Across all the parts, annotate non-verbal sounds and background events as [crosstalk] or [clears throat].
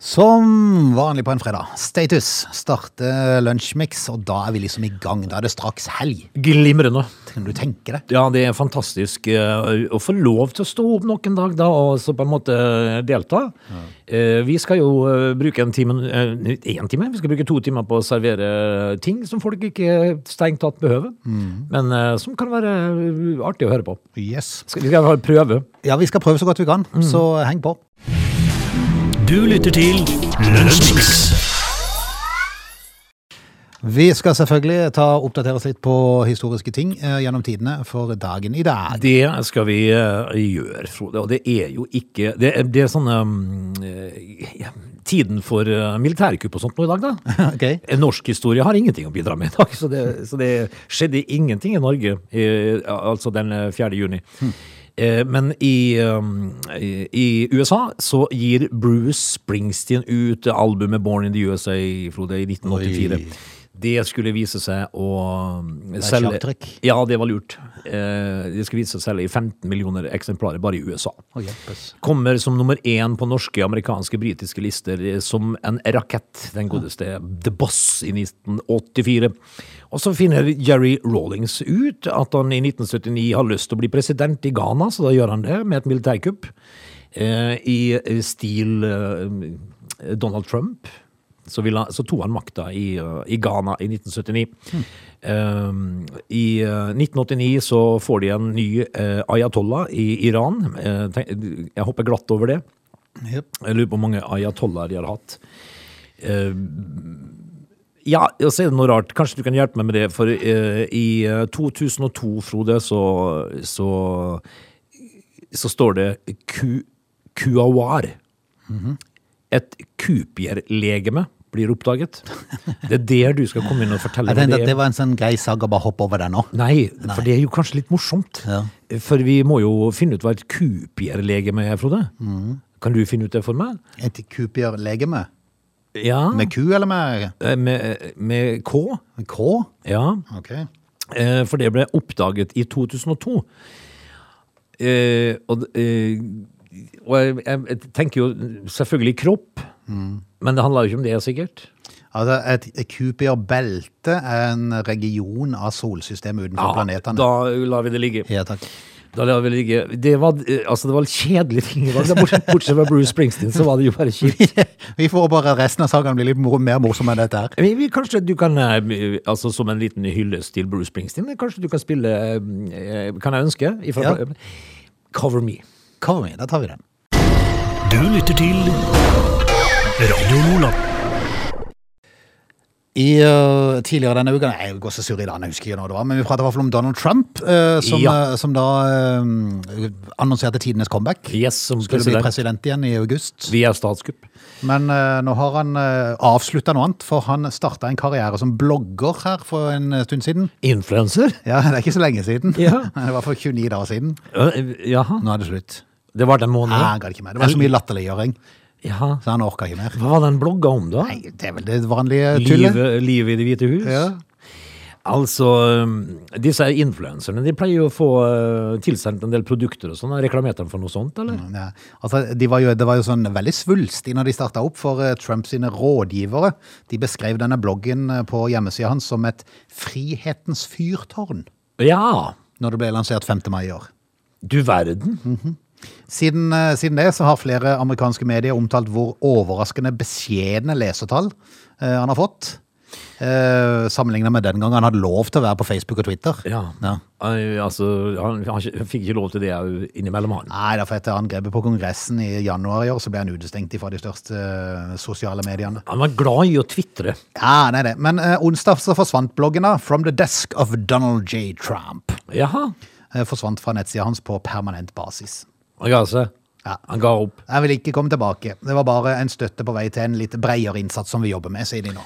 Som vanlig på en fredag. Status starter Lunsjmix, og da er vi liksom i gang. Da er det straks helg. Glimrende. Kan du tenke det? Ja, det er fantastisk eh, å få lov til å stå opp noen dag da, og så på en måte delta. Eh, Vi skal jo eh, bruke en time, eh, en time, vi skal bruke to timer på å servere ting som folk ikke strengt tatt behøver, men eh, som kan være eh, artig å høre på. Yes. Mm. Skal- Vi skal ha en prøve. Ja, vi skal prøve så godt vi kan, så heng på. Du lytter til Lønnsmix. Vi skal selvfølgelig ta og oppdatere oss litt på historiske ting eh, gjennom tidene for dagen i dag. Det skal vi eh, gjøre, Frode. Og det er jo ikke Det, er- det er sånn um, eh, ja, Tiden for eh, militærkupp og sånt nå i dag, da. [laughs] Ok. Norsk historie har ingenting å bidra med i dag, så det, så det skjedde ingenting i Norge eh, altså den eh, 4. juni. Hm. Eh, Men i, um, i i USA så gir Bruce Springsteen ut albumet Born in the USA, Frode, i 1984. Oi. Det skulle vise seg å er selge slagtrekk. Ja, det var lurt. Eh, Det skulle vise seg å selge i 15 millioner eksemplarer bare i USA. Å, hjelpes. Kommer som nummer én på norske, amerikanske, britiske lister eh, som en rakett, den godeste The Boss i 1984. Og så finner Jerry Rawlings ut at han i 1979 har lyst til å bli president i Ghana, så da gjør han det med et militærkupp eh, i eh, stil eh, Donald Trump. Så, ville han, så tok han makta i, eh, i Ghana i 1979. Um, I eh, 1989 så får de en ny eh, ayatollah i Iran. Eh, tenk, jeg hopper glatt over det. Jep. Jeg lurer på hvor mange ayatollaher de har hatt. Eh, ja, og så er det noe rart. Kanskje du kan hjelpe meg med det. For eh, i eh, 2002, Frode, så, så, så står det ku, kuawar. Mhm. Et kupierlegeme blir oppdaget. Det er der du skal komme inn og fortelle Jeg meg tenkte det at er. det var en sånn grei sag å bare hoppe over den nå. Nei, for det er jo kanskje litt morsomt. Ja. For vi må jo finne ut hva et kupierlegeme er, Frode. Mhm. Kan du finne ut det for meg? Et kupierlegeme. Ja. Eh, Med ku eller med Eh, med, med K. med K? Ja, Ok. eh, for det ble oppdaget i 2002. Eh, og d- eh, og jeg, jeg, jeg tenker jo selvfølgelig kropp, Mm. men det handler jo ikke om det, sikkert. Altså, et Kuiper-belte er en region av solsystemet utenfor planetene. da lar vi det ligge. Ja, takk. [laughs] Da lar vi Det ligge. Det var, eh, altså, det var kjedelige ting i dag. da, Bortsett, bortsett fra Bruce Springsteen, så var det jo bare kjipt. [laughs] Vi får bare resten av sagaen bli litt mor mer morsom enn dette her. Vi, vi, kanskje du kan, eh, altså som en liten hyllest til Bruce Springsteen, kanskje du kan spille eh, Kan jeg ønske? Ifra, Ja. Cover Me. Cover me, da tar vi den. Du lytter til Radio Nordland. I, øh, tidligere denne uka, nei, jeg går så sur i dag, jeg husker ikke når det var, men vi pratet i hvert fall om Donald Trump, øh, som, Ja. øh, som da øh, annonserte tidenes comeback. Yes, som Skulle bli president. president igjen i august. Vi er statskupp. Men øh, nå har han øh, avsluttet noe annet, for han startet en karriere som blogger her for en øh, stund siden. Influenser? Ja, det er ikke så lenge siden. Ja. [laughs] Det var for 29 dager siden. eh, Jaha. Nå er det slutt. Det var den Nei, måneden? han gadd ikke mer. Det var så mye latterliggjøring, Jaha. så han orka ikke mer. Hva var den blogga om, da? Nei, det er vel det vanlige tullet. Livet, livet i Det hvite hus? Ja. Altså, um, disse influenserne de pleier jo å få uh, tilsendt en del produkter og sånn. Reklamerte de for noe sånt, eller? Ja. Altså, de var jo, det var jo sånn veldig svulstig når de starta opp, for eh, Trump sine rådgivere De beskrev denne bloggen eh, på hjemmesida hans som et frihetens fyrtårn Ja! når det ble lansert 5. mai i år. Du verden. Siden, eh, siden det så har flere amerikanske medier omtalt hvor overraskende beskjedne lesertall eh, han har fått. Eh, Sammenligna med den gang han hadde lov til å være på Facebook og Twitter. Ja. Ja. Ai, Altså, han, han ikke- fikk ikke lov til det au, innimellom, han. Nei, derfor etter angrepet på Kongressen i januar i år, så ble han utestengt fra de største eh, sosiale mediene. Han var glad i å tvitre. Ja, det er det. Men eh, onsdag så forsvant bloggen da, From the Desk of Donald J. Trump. Jaha. Eh, forsvant fra nettsida hans på permanent basis. Han ga seg. Ja. Han ga opp. Jeg vil ikke komme tilbake. Det var bare en støtte på vei til en litt bredere innsats som vi jobber med, sier de nå.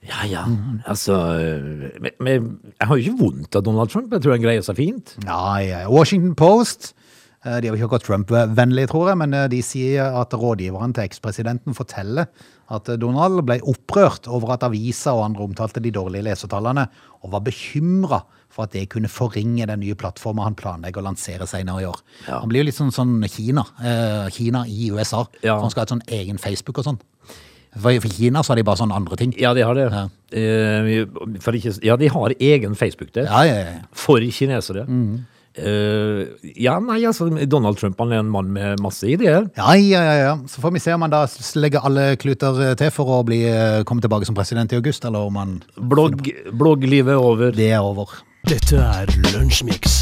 Ja, ja. Altså eh, men, men, Jeg har jo ikke vondt av Donald Trump. Jeg tror han greier seg fint. Ja, ja. Washington eh, Post Eh, De har ikke gått Trump-vennlig, tror jeg, men eh, de sier at rådgiveren til ekspresidenten forteller at eh, Donald ble opprørt over at aviser og andre omtalte de dårlige lesertallene, og var bekymra for at det kunne forringe den nye plattformen han planlegger å lansere senere i år. Ja. Han blir jo litt sånn, sånn Kina. eh, Kina i USA. Ja. For han skal ha et sånn egen Facebook og sånn. For for Kina så har de bare sånne andre ting. Ja, de har det. Ja. Eh, for ikke, ja, de har egen Facebook der. Ja, Mhm. ja, ja. For kinesere. Eh, ja, nei, altså, Donald Trump han er en mann med masse ideer. Ja, ja, ja, ja. Så får vi se om han da s- legger alle kluter eh, til for å bli, eh, komme tilbake som president i august, eller om han Blogg, blogglivet er over. Det er over. Dette er Lunsjmix.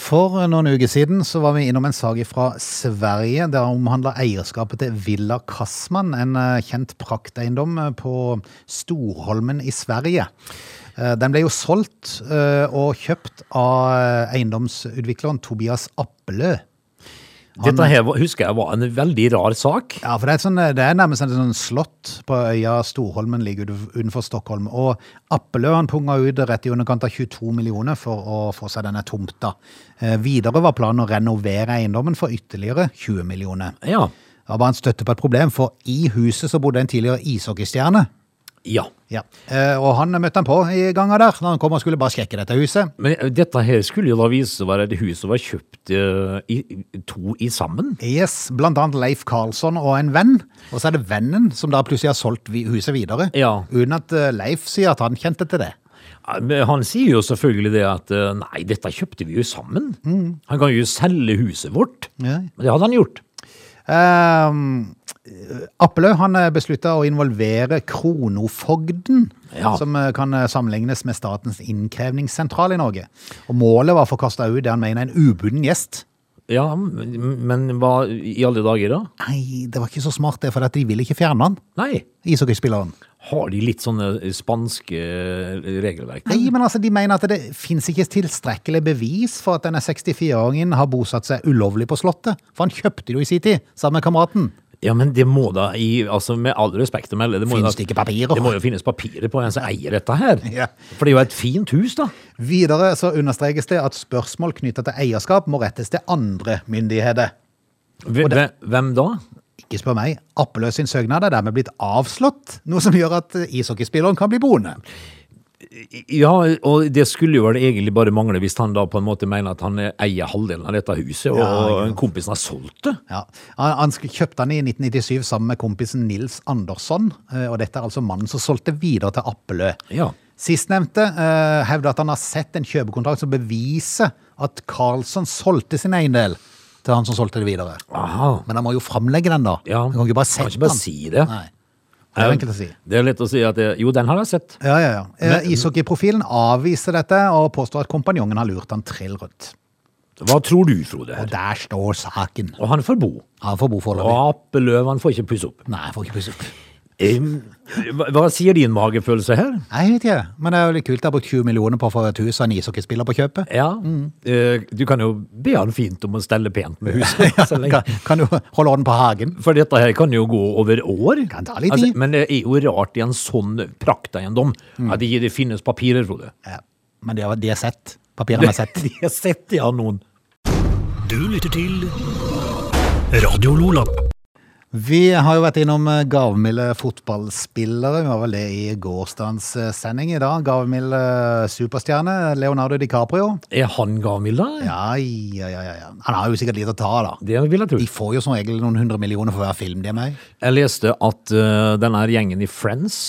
For eh, noen uker siden så var vi innom en sak fra Sverige. Det omhandla eierskapet til Villa Kassmann, en eh, kjent prakteiendom eh, på Storholmen i Sverige. Eh, Den ble jo solgt eh, og kjøpt av eh, eiendomsutvikleren Tobias Appelø. Dette her var- husker jeg var en veldig rar sak. Ja, for det er, et sånn, det er nærmest en sånn slott på øya Storholmen ligger ut- utenfor Stockholm. Og Appelø han punga ut rett i underkant av 22 millioner for å få seg denne tomta. Eh, videre var planen å renovere eiendommen for ytterligere 20 millioner. Ja. Det var bare en støtte på et problem, for i huset så bodde en tidligere ishockeystjerne. ja. Ja. Eh, og han møtte han på i ganga der, når han kom og skulle bare sjekke dette huset. Men eh, dette her skulle jo da vise seg å være et hus som var kjøpt eh, i, i- to i sammen. Yes, blant annet Leif Karlsson og en venn. Og så er det vennen som da plutselig har solgt vi- huset videre. Ja. Uten at eh, Leif sier at han kjente til det. Ja, men Han sier jo selvfølgelig det at eh, nei, dette kjøpte vi jo sammen. Han kan jo selge huset vårt. Ja. Men Det hadde han gjort. Ehm, Appelø han eh, besluttet å involvere kronofogden, Ja. som eh, kan eh, sammenlignes med Statens innkrevingssentral i Norge. Og målet var å få kasta ut det han mener er en ubunden gjest. Ja, men men hva i alle dager da? Nei, det var ikke så smart det, for at de ville ikke fjerne han, Nei. ishockeyspilleren. Har de litt sånne spanske eh, regelverk? Nei, men altså, de mener at det fins ikke tilstrekkelig bevis for at denne 64-åringen har bosatt seg ulovlig på Slottet. For han kjøpte det jo i sin tid, sammen med kameraten. Ja, men det må da, i, altså med all respekt å melde, det må, jo Finnes da- det ikke papirer? det må jo finnes papirer på en som eier dette her. Ja. For det er jo et fint hus da. Videre så understrekes det at spørsmål knytta til eierskap må rettes til andre myndigheter. Hve- hve- Hvem da? Ikke spør meg. Appeløs sin søknad er dermed blitt avslått, noe som gjør at ishockeyspilleren kan bli boende. Ja, og det skulle jo vel egentlig bare mangle hvis han da på en måte mener at han eier halvdelen av dette huset, og Ja, kompisen har solgt det. Ja. Han, han sk- kjøpte den i 1997 sammen med kompisen Nils Andersson, eh, og dette er altså mannen som solgte videre til Appelø. Ja. Sistnevnte eh, hevder at han har sett en kjøpekontrakt som beviser at Karlsson solgte sin eiendel til han som solgte det videre. Aha. Men han må jo framlegge den, da. Ja. Han kan ikke bare Kan sette ikke bare den. si det. Nei. Det er jo enkelt å si. Det er lett å si at det, jo, den har jeg sett. Ja, ja, ja. Eh, Ishockeyprofilen avviser dette og påstår at kompanjongen har lurt han trill rundt. Hva tror du, Frode? Og der står saken. Og han får bo. Han får bo Og foreløpig. Apeløv, han får ikke pusse opp. Nei, jeg får ikke pusse opp. Em, hva, hva sier din magefølelse her? Nei, Jeg vet ikke, men det er jo litt kult. Jeg har brukt 20 millioner på å få et hus og en ishockeyspiller på [laughs] kjøpet. Ja, Mm. eh, du kan jo be han fint om å stelle pent [laughs] med huset. så lenge. Kan, kan du holde orden på hagen? For dette her kan jo gå over år. Altså, Kan ta litt tid. Mm. men det er jo rart i en sånn prakteiendom at ikke det finnes papirer, Frode. Ja. Men det har de har sett. Papirene har sett. [laughs] De har sett det av noen. Du lytter til Radio Lola. Vi har jo vært innom eh, gavmilde fotballspillere. Vi var vel det i gårsdagens eh, sending i dag. Gavmild eh, superstjerne Leonardo DiCaprio. Er han gavmild, da? Ja, ja, ja, ja. ja. Han har jo sikkert litt å ta, da. Det vil jeg tro. De får jo som regel noen hundre millioner for hver film de er med i. Jeg leste at eh, den her gjengen i Friends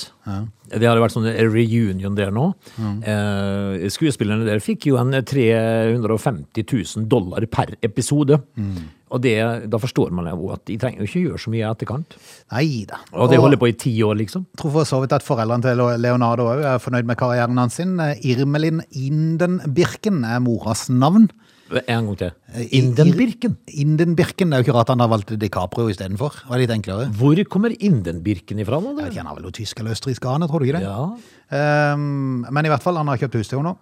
Det har jo vært sånn reunion der nå. Eh, skuespillerne der fikk jo en 350 000 dollar per episode. Og det, da forstår man jo at de trenger jo ikke gjøre så mye i etterkant. Nei da. Og det holder på i ti år, liksom. Jeg tror for så vidt at foreldrene til Leonardo òg er fornøyd med karrieren hans. sin. Eh, Irmelin Inden Birken er moras navn. En gang til. Indenbirken. Inden Birken, det er jo ikke rart han har valgt DiCaprio istedenfor. Det var litt enklere. Hvor kommer Indenbirken ifra nå? Jeg vet Det? ikke, Han er vel jo tysk eller østerriksk ane, tror du ikke det? Ja. Ehm, men i hvert fall, han har kjøpt hus til henne nå.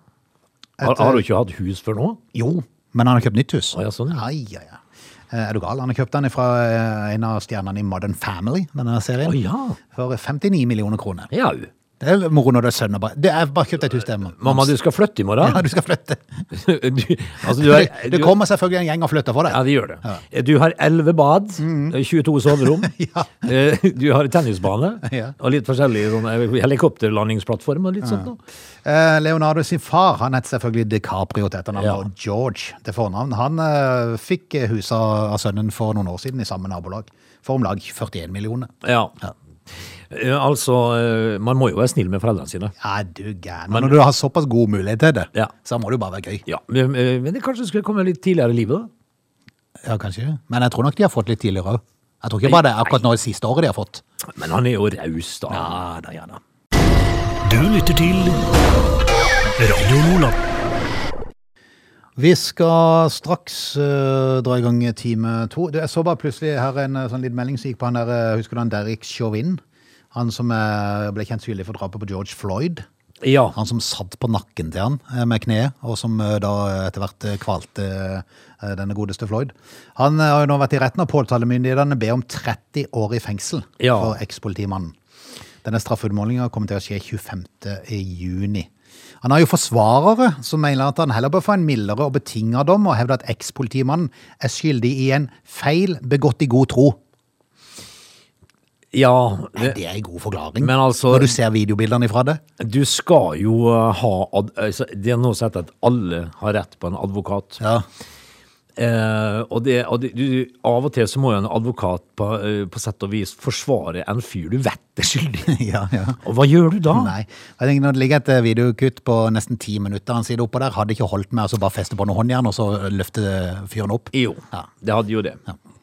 Har, har du ikke hatt hus før nå? Jo, men han har kjøpt nytt hus. Å, ja, sånn, ja. Ai, ai, ai. Eh, Er du gal? Han har kjøpt den fra eh, en av stjernene i Modern Family, denne serien. Å, ja. For 59 millioner kroner. Jau. Det er moro når det er sønn og bare Det er bare kjøpt et hus til hjemme. Mamma, du skal flytte i morgen. Ja, du skal flytte. [laughs] du, altså, du Det, har, [laughs] det du, kommer selvfølgelig en gjeng og flytter for deg. ja, det gjør det. Du har 11 bad, 22 soverom, Mm. [laughs] Ja. eh, du har tennisbane, [laughs] Ja. og litt forskjellige sånne helikopterlandingsplattform og litt sånt. noe. Eh, Leonardo sin far han het selvfølgelig DiCaprio til etternavn, Ja. og George til fornavn. Han eh, fikk huset av sønnen for noen år siden i samme nabolag, for om lag 41 millioner. Ja. Eh, Altså, eh, man må jo være snill med foreldrene sine. Ja, du gæren. Men når du har såpass god mulighet til det, Ja. så må det jo bare være gøy. Ja, men eh, men det kanskje skulle komme litt tidligere i livet, da. Ja, kanskje. Men jeg tror nok de har fått litt tidligere òg. Jeg tror ikke bare det er akkurat nå det siste året de har fått. Men han er jo raus, da. da, ja da. Du lytter til Radio Lola. Vi skal straks øh, dra i gang time to. Du, jeg så bare plutselig her en øh, sånn liten melding som gikk på han der, øh, husker du han Derek Chauvin? Han som øh, ble kjent skyldig for drapet på George Floyd. Ja. Han som satt på nakken til han øh, med kneet, og som øh, da øh, etter hvert øh, kvalte øh, denne godeste Floyd. Han øh, har jo nå vært i retten, og påtalemyndighetene ber om 30 år i fengsel Ja. for ekspolitimannen. Denne straffeutmålinga kommer til å skje 25. juni. Han har jo forsvarere som mener at han heller bør få en mildere og betinga dom, og hevder at ekspolitimannen er skyldig i en feil begått i god tro. ja eh, Nei, det, det er en god forklaring, Men altså- når du ser videobildene ifra det. du skal jo eh, ha ad, altså, Det er nå sett at alle har rett på en advokat. Ja. [laughs] Eh, og det, og det, du, av og til så må jo en advokat på, eh, på sett og vis forsvare en fyr du vet er skyldig. ja, ja. Og hva gjør du da? Nei. Jeg tenker Når det ligger et eh, videokutt på nesten ti minutter, han sier det oppå der, hadde ikke holdt med å så bare feste på noe håndjern og så løfte eh, fyren opp. Jo, Ja. det hadde jo det.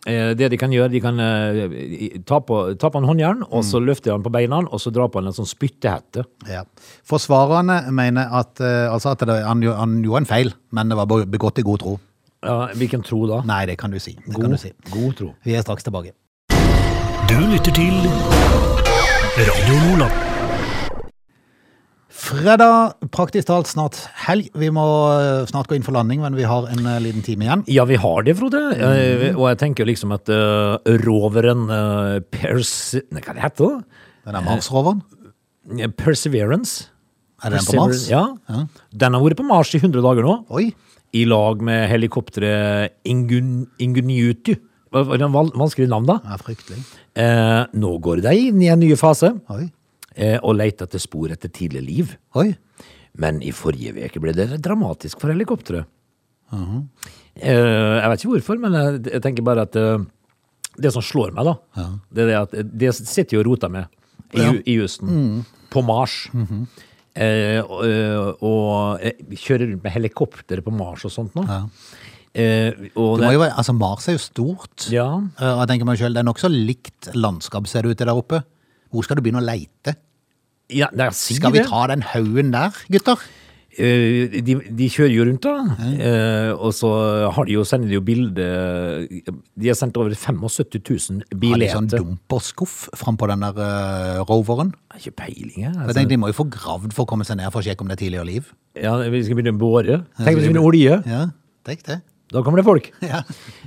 Eh, Det de kan gjøre, de kan eh, i- ta på, ta på en håndjern, og så Mm. løfter han på beina, og så drar på han en sånn spyttehette. Ja. Forsvarerne mener at, eh, altså at det, han, gjorde- han gjorde en feil, men det var be- begått i god tro. Ja, hvilken tro da? Nei, det kan du si. Det kan God, du si. god tro. Vi er straks tilbake. Du lytter til Radio Lola. Fredag, praktisk talt snart helg. Vi må eh, snart gå inn for landing, men vi har en eh, liten time igjen. Ja, vi har det, Frode. Eh, Mm. Og jeg tenker liksom at eh, roveren eh, Perse... Nei, hva det heter det? Den er Mars-roveren. Eh, Perseverance. Er det den på Mars? Perseverance, Ja. Den har vært på Mars i 100 dager nå. Oi. I lag med helikopteret Ingun, Ingenuity. Hva- hva er det val- Vanskelig navn, da. Den er fryktelig. Eh, nå går de inn i en ny fase Oi. eh, og leter etter spor etter tidlig liv. Oi. Men i forrige uke ble det dramatisk for helikopteret. eh, jeg vet ikke hvorfor, men jeg, jeg tenker bare at eh, det som slår meg, da, det er det at eh, det sitter jo og roter med i, Ja. Mm. Mhm. i Houston, på Mars. eh, og eh, og eh, kjører rundt med helikopter på Mars og sånt nå. Eh, og Det det, må jo være, altså Mars er jo stort. Ja. Eh, Og jeg tenker meg selv, det er nokså likt landskap ser det ut til der oppe. Hvor skal du begynne å leite? ja, det er, sier Skal vi det. ta den haugen der, gutter? Eh, de, de kjører jo rundt, da. Eh, og så har de jo, sender de jo bilde De har sendt over 75 000 Har de sånn billetter. dumperskuff frampå den der eh, roveren? Jeg har ikke peiling, jeg. Jeg Altså. tenker, de må jo få gravd for å komme seg ned for å sjekke om det er tidligere liv. Ja, vi skal begynne å båre. Tenk hvis vi begynner å olje. Ja, tenk det. Da kommer det folk. Ja.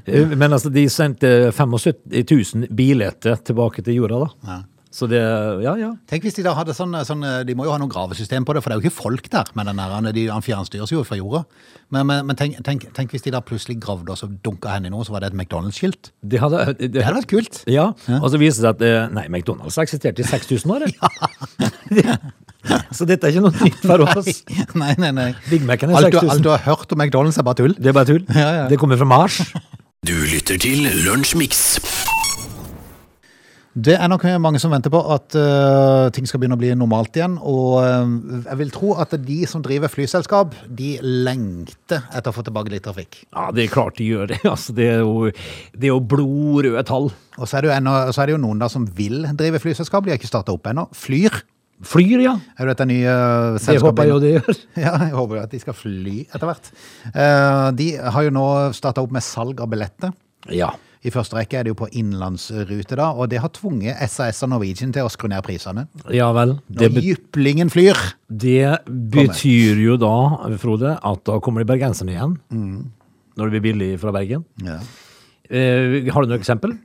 Eh, Men altså, de sendte 75 000 billetter tilbake til jorda, da. Ja. Så det Ja, ja. Tenk hvis de da hadde sånn, sånn eh, De må jo ha noe gravesystem på det, for det er jo ikke folk der. Men den der, han- de, han fjernstyres jo fra jorda. Men, men, men tenk, tenk, tenk hvis de da plutselig gravde og så dunka henne i noe, så var det et McDonald's-skilt. Det hadde, det, Det hadde vært kult. [laughs] Ja, og så viser det seg at eh, Nei, McDonald's har eksistert i 6000 år. [laughs] eh. så dette er ikke noe nytt for oss. Nei, nei, nei. Big Mac-en er alt, du, 6000. alt du har hørt om McDonald's er bare tull. Det er bare tull. Ja, ja. Det kommer fra Mars. Du lytter til Lunsjmix. Det er nok mange som venter på at øh, ting skal begynne å bli normalt igjen. Og øh, jeg vil tro at de som driver flyselskap, de lengter etter å få tilbake litt trafikk. Ja, det er klart de gjør det. [laughs] Altså, det, er jo, det er jo blodrøde tall. Og så er det jo, ennå, så er det jo noen da som vil drive flyselskap, de har ikke starta opp ennå. Flyr. Flyr, ja. Er det dette nye øh, Det selskapet? håper jeg jo det gjør. [laughs] Ja, jeg håper jo at de skal fly etter hvert. Eh, de har jo nå starta opp med salg av billetter. Ja. I første rekke er det jo på innenlandsrute, da, og det har tvunget SAS og Norwegian til å skru ned prisene. Ja vel. Det, Når bet- jyplingen flyr! det betyr jo da, Frode, at da kommer de bergenserne Mm. igjen. Når det blir billig fra Bergen. Ja. Eh, har du noe eksempel?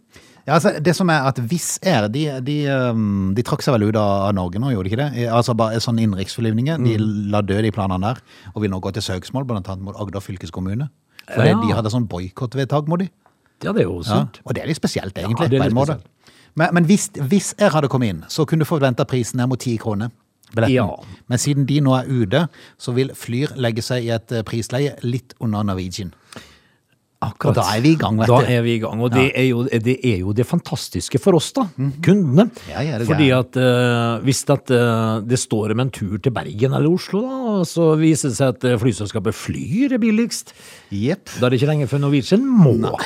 Ja, altså, det som er at Wizz Air de, de, um, de trakk seg vel ut av av Norge nå, gjorde de ikke det? I- Altså bare sånne innenriksflyvninger. De Mm. la dø de planene der, og vil nå gå til søksmål, blant annet mot Agder fylkeskommune. For Ja. de hadde sånn boikottvedtak mot de. Ja, det er jo Ja. sunt. Og det er litt spesielt, egentlig. det er på en litt måte. Men, men hvis, hvis jeg hadde kommet inn, så kunne du forventa prisen ned mot 10 kroner. Billetten. Ja. Men siden de nå er ute, så vil Flyr legge seg i et eh, prisleie litt under Norwegian. Og Akkurat. da er vi i gang, vet Da du. er vi i gang, og det, er jo, det er jo det fantastiske for oss, da. Kundene. Mhm. Ja, ja, det er Fordi at eh, hvis at, eh, det står om en tur til Bergen eller Oslo, da, og så viser det seg at eh, flyselskapet Flyr er billigst, Jepp. da er det ikke lenge før Norwegian må. Da må-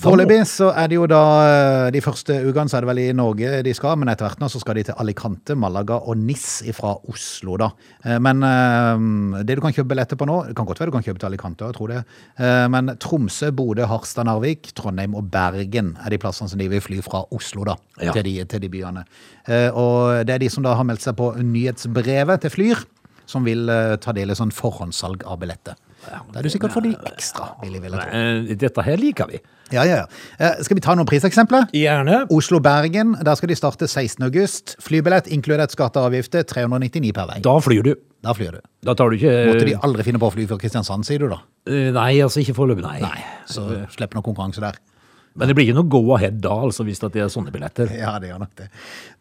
Foreløpig så er det jo da eh, De første ukene så er det vel i Norge de skal, men etter hvert nå så skal de til Alicante, Malaga og Nis fra Oslo, da. Eh, Men eh, det du kan kjøpe billetter på nå Det kan godt være du kan kjøpe til Alicante, jeg tror det. Eh, Men Tromsø, Bodø, Harstad, Narvik, Trondheim og Bergen er de plassene som de vil fly fra Oslo, da. Ja. Til, de, til de byene. Eh, Og det er de som da har meldt seg på nyhetsbrevet til Flyr, som vil eh, ta del i sånn forhåndssalg av billetter. Da er du sikkert for de ekstra, vil jeg vil tro. Eh, Dette her liker vi. Ja, ja, ja. Eh, Skal vi ta noen priseksempler? Gjerne. Oslo-Bergen, der skal de starte 16. august. Flybillett inkludert skatter og avgifter, 399 per vei. Da flyr du. Da flyr du. Da tar du Måtte ikke de aldri finne på å fly fra Kristiansand, sier du da? eh, Nei, altså ikke foreløpig, nei. Så slipper noen konkurranse der. Men det blir ikke noe go ahead da, altså, hvis at det er sånne billetter. Ja, det gjør nok det.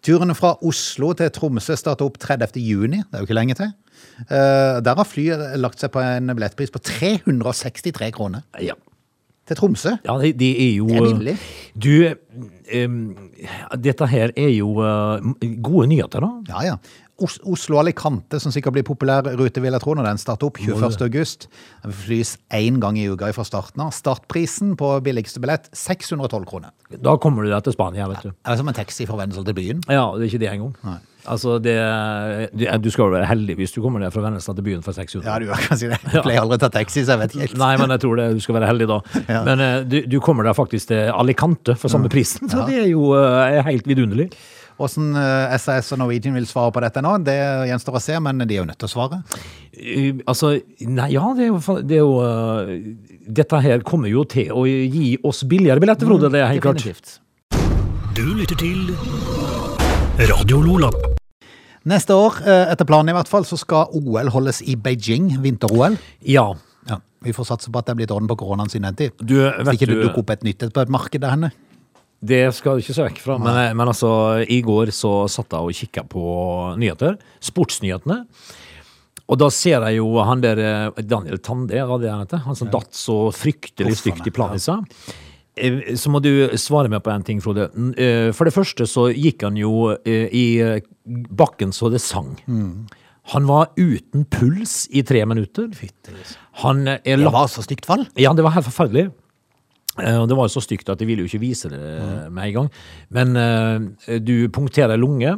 Turen fra Oslo til Tromsø starter opp 30. juni, det er jo ikke lenge til. Eh, Der har flyet lagt seg på en billettpris på 363 kroner Ja. til Tromsø. Ja, det, det er jo Det er billig. Du, em, dette her er jo eh, gode nyheter, da. Ja, ja. Os Oslo Alicante, som sikkert blir populær rute, vil jeg tro, når den starter opp 21. august. Den flys én gang i uka fra starten av. Startprisen på billigste billett 612 kroner. Da kommer du deg til Spania, vet du. Er det som en taxi fra Vennesla til byen? Ja, det er ikke det engang. Altså, det, du, du skal jo være heldig hvis du kommer deg fra Vennesla til byen for 600. Ja, du kan si det. Jeg pleier aldri å ta taxi, så jeg vet ikke helt. Nei, men jeg tror det, du skal være heldig da. [laughs] Ja. Men eh, du, du kommer deg faktisk til Alicante for samme prisen, så det er jo eh, helt vidunderlig. Hvordan eh, SAS og Norwegian vil svare på dette nå, det gjenstår å se, men de er jo nødt til å svare. Eh, Altså, nei, ja, det er jo, fa- det er jo eh, Dette her kommer jo til å gi oss billigere billetter, Frode. Det er helt klart. Definitivt. Du lytter til Radio Lola. Neste år, eh, etter planen i hvert fall, så skal OL holdes i Beijing, vinter-OL. Ja. Ja, vi får satse på at det er blitt orden på koronaen sin tid. Du, Hvis vet ikke det du, dukker opp et nytt et på et marked der henne. det skal du ikke se vekk fra. Men, men altså, i går så satt jeg og kikka på nyheter. Sportsnyhetene. Og da ser jeg jo han der eh, Daniel Tande, hva det han heter? Han som datt så fryktelig Huff, han stygt i Planica. Eh, Så må du svare meg på en ting, Frode. N- eh, For det første så gikk han jo eh, i eh, bakken så det sang. Mm. Han var uten puls i tre minutter. Han eh, er Det lagt var så stygt fall. Ja, det var helt forferdelig. Eh, Og det var jo så stygt at de ville jo ikke vise det eh, med en gang. Men eh, du punkterer lunge.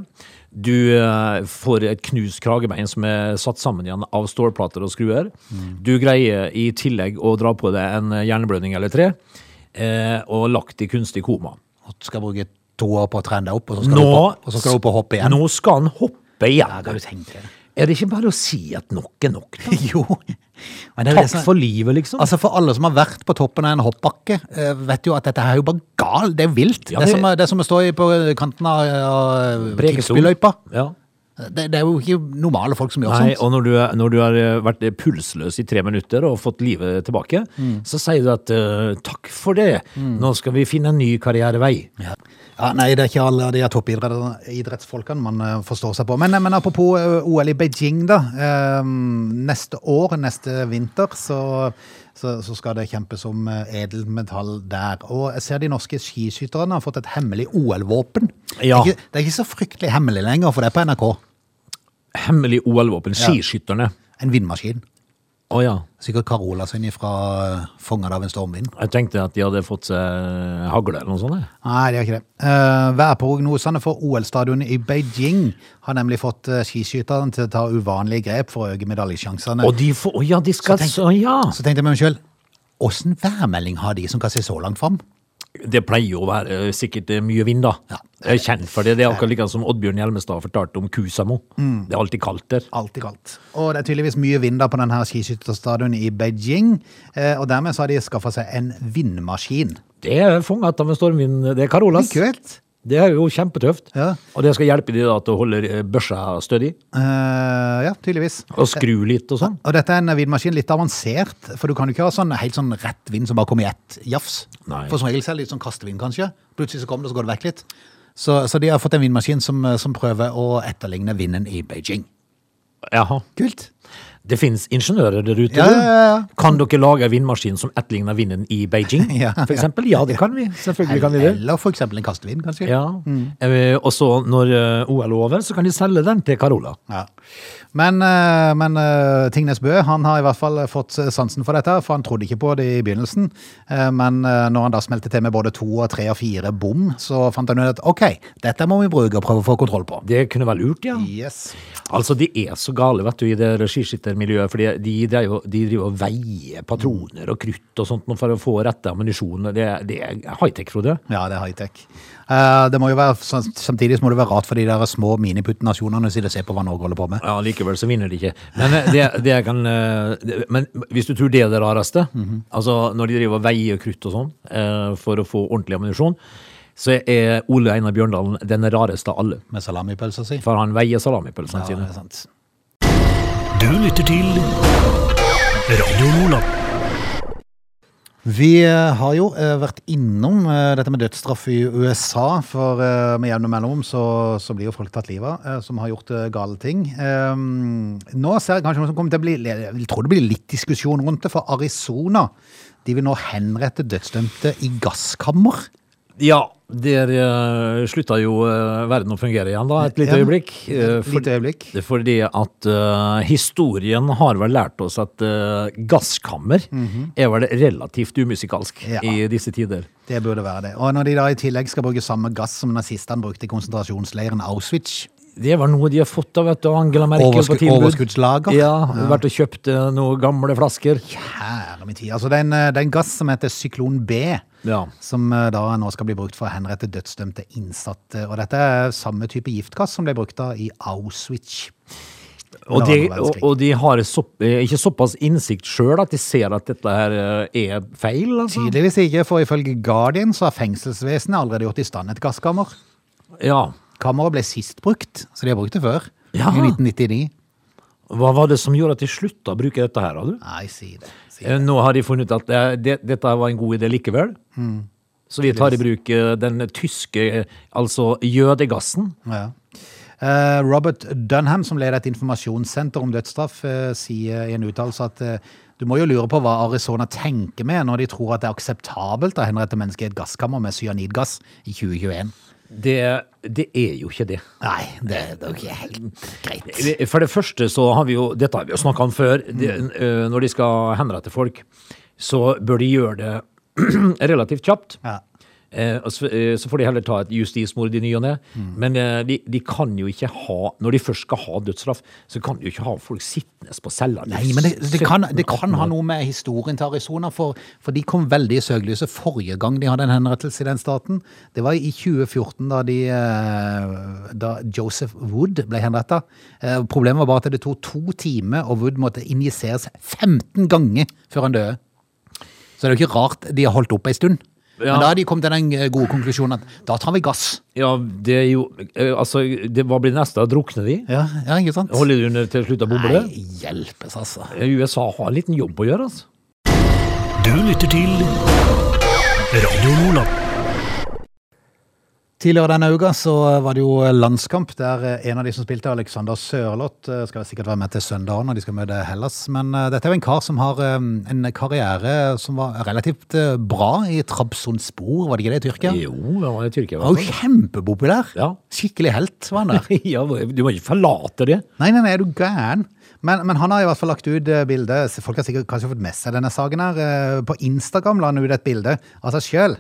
Du eh, får et knust kragebein som er satt sammen igjen av stålplater og skruer. Du greier i tillegg å dra på deg en hjerneblødning eller tre, eh, og lagt i kunstig koma. Og du skal bruke to år på å trene deg opp, og så skal, Nå- du, opp, og så skal du opp og hoppe igjen. Nå skal han hoppe Ja, kan igjen. du tenke [laughs] deg. Er det ikke bare å si at nok er nok? da? Jo. Men det er jo det Takk som- for livet, liksom. Altså For alle som har vært på toppen av en hoppbakke, eh, vet jo at dette her er jo bare gal. Det er vilt. Ja, det, det- som, er- det som å stå i- på kanten av, eh, av Brekestol. Kingsbyløypa. Ja. Det, det er jo ikke normale folk som gjør Nei, sånt. og når du, er- når du har eh, vært pulsløs i tre minutter og fått livet tilbake, Mm. så sier du at eh, takk for det, nå skal vi finne en ny karrierevei. Ja, nei, det er ikke alle av de her toppidrettsfolkene man eh, forstår seg på. Men, men apropos eh, OL i Beijing, da. eh, Neste år, neste vinter, så, så, så skal det kjempes om eh, edelt metall der. Og jeg ser de norske skiskytterne har fått et hemmelig OL-våpen. Det, Ja. er ikke- det er ikke så fryktelig hemmelig lenger, for det er på NRK. Hemmelig OL-våpen, skiskytterne. En vindmaskin. Å ja. Sikkert Carola sin fra Fanga av en stormvind. Jeg tenkte at de hadde fått seg eh, hagle eller noe sånt. jeg. Nei, det er ikke det. Eh, Værprognosene for OL-stadionet i Beijing har nemlig fått eh, skiskytterne til å ta uvanlige grep for å øke medaljesjansene. Og de får Å ja, de skal Så tenk- så, Ja. Så tenkte jeg med meg sjøl, åssen værmelding har de som kan se så langt fram? Det pleier jo å være eh, sikkert eh, mye vind, da. Jeg er kjent for det. Det er akkurat like som Oddbjørn Hjelmestad fortalte om Kusamo. Mm. Det er alltid kaldt der. Alltid kaldt. Og det er tydeligvis mye vind da på denne skiskytterstadion i Beijing. eh, Og dermed så har de skaffa seg en vindmaskin. Det er fanget av en stormvind. Det er Carolas. Kult! Det er jo kjempetøft. Ja. Og det skal hjelpe de da til å holde eh, børsa stødig. Eh, ja, tydeligvis. Og skru litt og sånn. Og dette er en vindmaskin litt avansert, for du kan jo ikke ha sånn helt sånn rett vind som bare kommer i ett jafs. Nei. For som regel så er det litt sånn kastevind, kanskje. Plutselig så kommer det, så går det vekk litt. Så, så de har fått en vindmaskin som, eh, som prøver å etterligne vinden i Beijing. Jaha. Kult. Det finnes ingeniører der ute. Ja, du. ja, ja, ja. Kan dere lage en vindmaskin som etterligner vinden i Beijing? [laughs] Ja, for eksempel? Ja, det kan vi. Selvfølgelig kan vi det. Eller for eksempel en kastevind, kanskje. Ja. Mm. Eh, Og så når eh, OL er over, så kan de selge den til Carola. Ja. Men, eh, men eh, Tingnes Bø han har i hvert fall fått eh, sansen for dette, for han trodde ikke på det i begynnelsen. Eh, Men eh, når han da smelte til med både to og tre og fire bom, så fant han ut at ok, dette må vi bruke og prøve å få kontroll på. Det kunne være lurt, ja. Yes. Altså, de er så gale, vet du, i det skiskyttermiljøet, for de, de driver jo- de driver og veier patroner og krutt og sånt nå for å få rette ammunisjon. Det, det er high-tech, Frode. Ja, det er high-tech. Eh, Det må jo være, sam- samtidig så må det være rart for de der små miniputt-nasjonene å se på hva Norge holder på med. Ja, likevel så vinner de ikke. Men, eh, det, det jeg kan, eh, det- men hvis du tror det er det rareste, Mhm. altså når de driver og veier krutt og sånn eh, for å få ordentlig ammunisjon, så er Ole Einar Bjørndalen den rareste av alle. Med salamipølsa si. For han veier salamipølsene Ja, det sine. er sant. Du lytter til Radio Lola. Vi eh, har jo eh, vært innom eh, dette med dødsstraff i USA, for eh, med jevne mellomrom så, så blir jo folk tatt livet av, eh, som har gjort eh, gale ting. Eh, Nå ser jeg kanskje noe som kommer til å bli Jeg tror det blir litt diskusjon rundt det, for Arizona de vil nå henrette dødsdømte i gasskammer. Ja, der eh, slutta jo eh, verden å fungere igjen, da, et lite Ja, øyeblikk. eh, et lite øyeblikk. Fordi at eh, historien har vel lært oss at eh, gasskammer er vel relativt umusikalsk Mhm. Ja. i disse tider. Det burde være det. Og når de da i tillegg skal bruke samme gass som nazistene brukte i konsentrasjonsleiren Auschwitz Det var noe de har fått av vet du, Angela Merkel Oversku- på tilbud. overskuddslager. Ja, ja. Vært og kjøpt eh, noen gamle flasker. Kjære min tid. Altså, det er en, eh, det er en gass som heter syklon B. Ja. Som eh, da nå skal bli brukt for å henrette dødsdømte innsatte. Og dette er samme type giftgass som ble brukt da i Auschwitz. Og Under de, andre og, verdenskrig. og de har sopp, eh, ikke såpass innsikt sjøl at de ser at dette her eh, er feil. Altså. Tydeligvis ikke, for ifølge Guardian så har fengselsvesenet allerede gjort i stand et gasskammer. Ja. Kammeret ble sist brukt, så de har brukt det før. Ja. I 1999. Hva var det som gjorde at de slutta å bruke dette her? har Du? Nei, si det. Si det. Eh, Nå har de funnet ut at eh, det, dette var en god idé likevel. Mm. Så vi tar i bruk eh, den tyske, eh, altså jødegassen. Ja. Eh, Robert Dunham, som leder et informasjonssenter om dødsstraff, eh, sier i en uttalelse at eh, du må jo lure på hva Arizona tenker med når de tror at det er akseptabelt å henrette mennesker i et gasskammer med cyanidgass i 2021. Det, det er jo ikke det. Nei, det, det er jo ikke helt greit. Det- For det første så har vi jo, dette har vi jo snakket om før, Mm. det, øh, når de skal henrette folk, så bør de gjøre det [clears throat] relativt kjapt. Ja. Eh, og så, eh, så får de heller ta et justismord i ny og ne. Mm. Men eh, de, de kan jo ikke ha, når de først skal ha dødsstraff, så kan de jo ikke ha folk sittende på cella. Nei, men det, det, kan, det kan ha noe med historien til Arizona, for, for de kom veldig i søkelyset forrige gang de hadde en henrettelse i den staten. Det var i 2014, da, de, eh, da Joseph Wood ble henretta. Eh, Problemet var bare at det tok to timer, og Wood måtte injiseres 15 ganger før han døde. Så det er jo ikke rart de har holdt opp ei stund. Ja. Men da har de kommet til den eh, gode konklusjonen at da tar vi gass. Ja, det er jo, eh, altså, det, hva blir det neste? Drukner de? Ja, ja ikke sant? Holder de under til slutt å boble? Eh, Nei, hjelpes, altså. USA har en liten jobb å gjøre, altså. Du lytter til Radio Lola. Tidligere denne uka så var det jo landskamp der eh, en av de som spilte, Alexander Sørloth, eh, skal sikkert være med til søndagen når de skal møte Hellas. Men eh, dette er jo en kar som har eh, en karriere som var relativt eh, bra i Trabzonspor, var det ikke det, i Tyrkia? Jo, det var i Tyrkia. Han i hvert var fall. jo kjempepopulær. Ja. Skikkelig helt var han der. [laughs] ja, du må ikke forlate det. Nei, nei, nei, er du gæren? Men, men han har i hvert fall lagt ut eh, bilde, så folk har sikkert kanskje fått med seg denne saken her. eh, På Instagram la han ut et bilde av seg sjøl.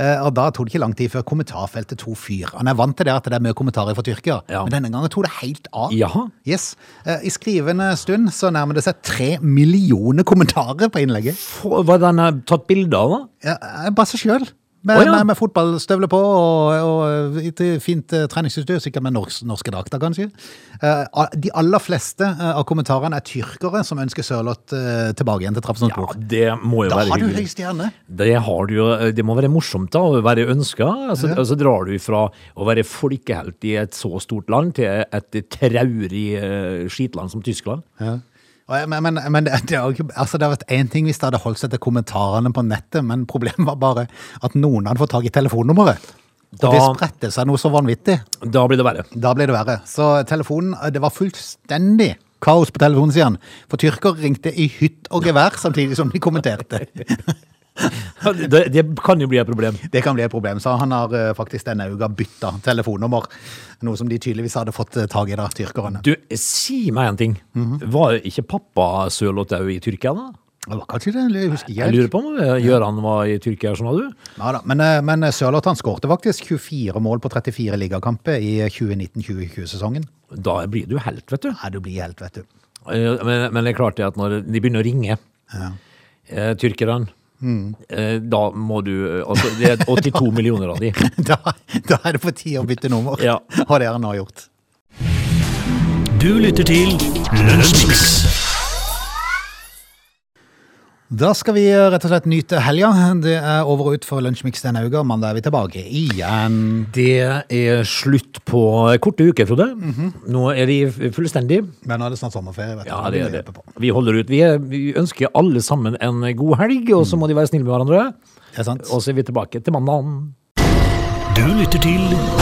Og da tok det ikke lang tid før kommentarfeltet tok fyr. Han er vant til det at det er mye kommentarer fra Tyrkia, Ja. men denne gangen tok det helt av. Jaha. Yes. Eh, I skrivende stund så nærmer det seg tre millioner kommentarer på innlegget. Hva den er tatt bilde av, da? Ja, eh, Bare seg sjøl. Med, Å, ja. med, med fotballstøvler på og, og et fint eh, treningsutstyr, sikkert med norsk, norske drakter, kanskje. Eh, a- de aller fleste eh, av kommentarene er tyrkere som ønsker Sørloth eh, tilbake igjen til Ja, Trabzonspor. det må jo da være har du høy hyggelig. stjerne! Det, har du, jo- eh, det må være morsomt da, å være ønska. Altså, altså drar du fra å være folkehelt i et så stort land til et traurig eh, skitland som Tyskland. Og jeg- Men, men, men det, det, har jo ikke- altså det hadde vært én ting hvis det hadde holdt seg til kommentarene på nettet, men problemet var bare at noen hadde fått tak i telefonnummeret. Og Da- det spredte seg noe så vanvittig. Da blir det verre. Da ble det verre. Så telefonen, eh, det var fullstendig kaos på telefonen, sier han. For tyrker ringte i hytt og gevær samtidig som de kommenterte. Det, det kan jo bli et problem. Det kan bli et problem, så han har eh, faktisk denne uka bytta telefonnummer. Noe som de tydeligvis hadde fått eh, tak i, da, tyrkerne. Du, si meg en ting. Mhm. Var ikke pappa Sørloth òg i Tyrkia, da? Det var kanskje det, jeg husker ikke Jeg helt. lurer på om eh, Gøran var i Tyrkia, sånn var du? Ja, da. Men, eh, men Sørloth han skårte faktisk 24 mål på 34 ligakamper i eh, 2019-2020-sesongen. Da blir du helt, vet du. Nei, du blir helt, vet du. [laughs] Eh, Men, men det er klart det at når de begynner å ringe, eh, tyrkerne, eh, da må du eh, Altså, det er [laughs] 82 millioner av de. Da, da er det på tide å bytte nummer, Ja. og det har han nå gjort. Du lytter til Lunsjmix. Da skal vi eh, rett og slett nyte helga. Det er over og ut for Lunsjmix denne uka. Mandag er vi tilbake igjen. Det er slutt på korte uker, Frode. Nå er de fullstendig. Men nå er det snart sommerferie. vet du. Mhm. Ja, Nå det begynner vi er det. å hjelpe på. Vi holder ut. Vi, er, vi ønsker alle sammen en god helg, og så Mm. må de være snille med hverandre. Det er sant. Og så er vi tilbake til mandagen. Du lytter til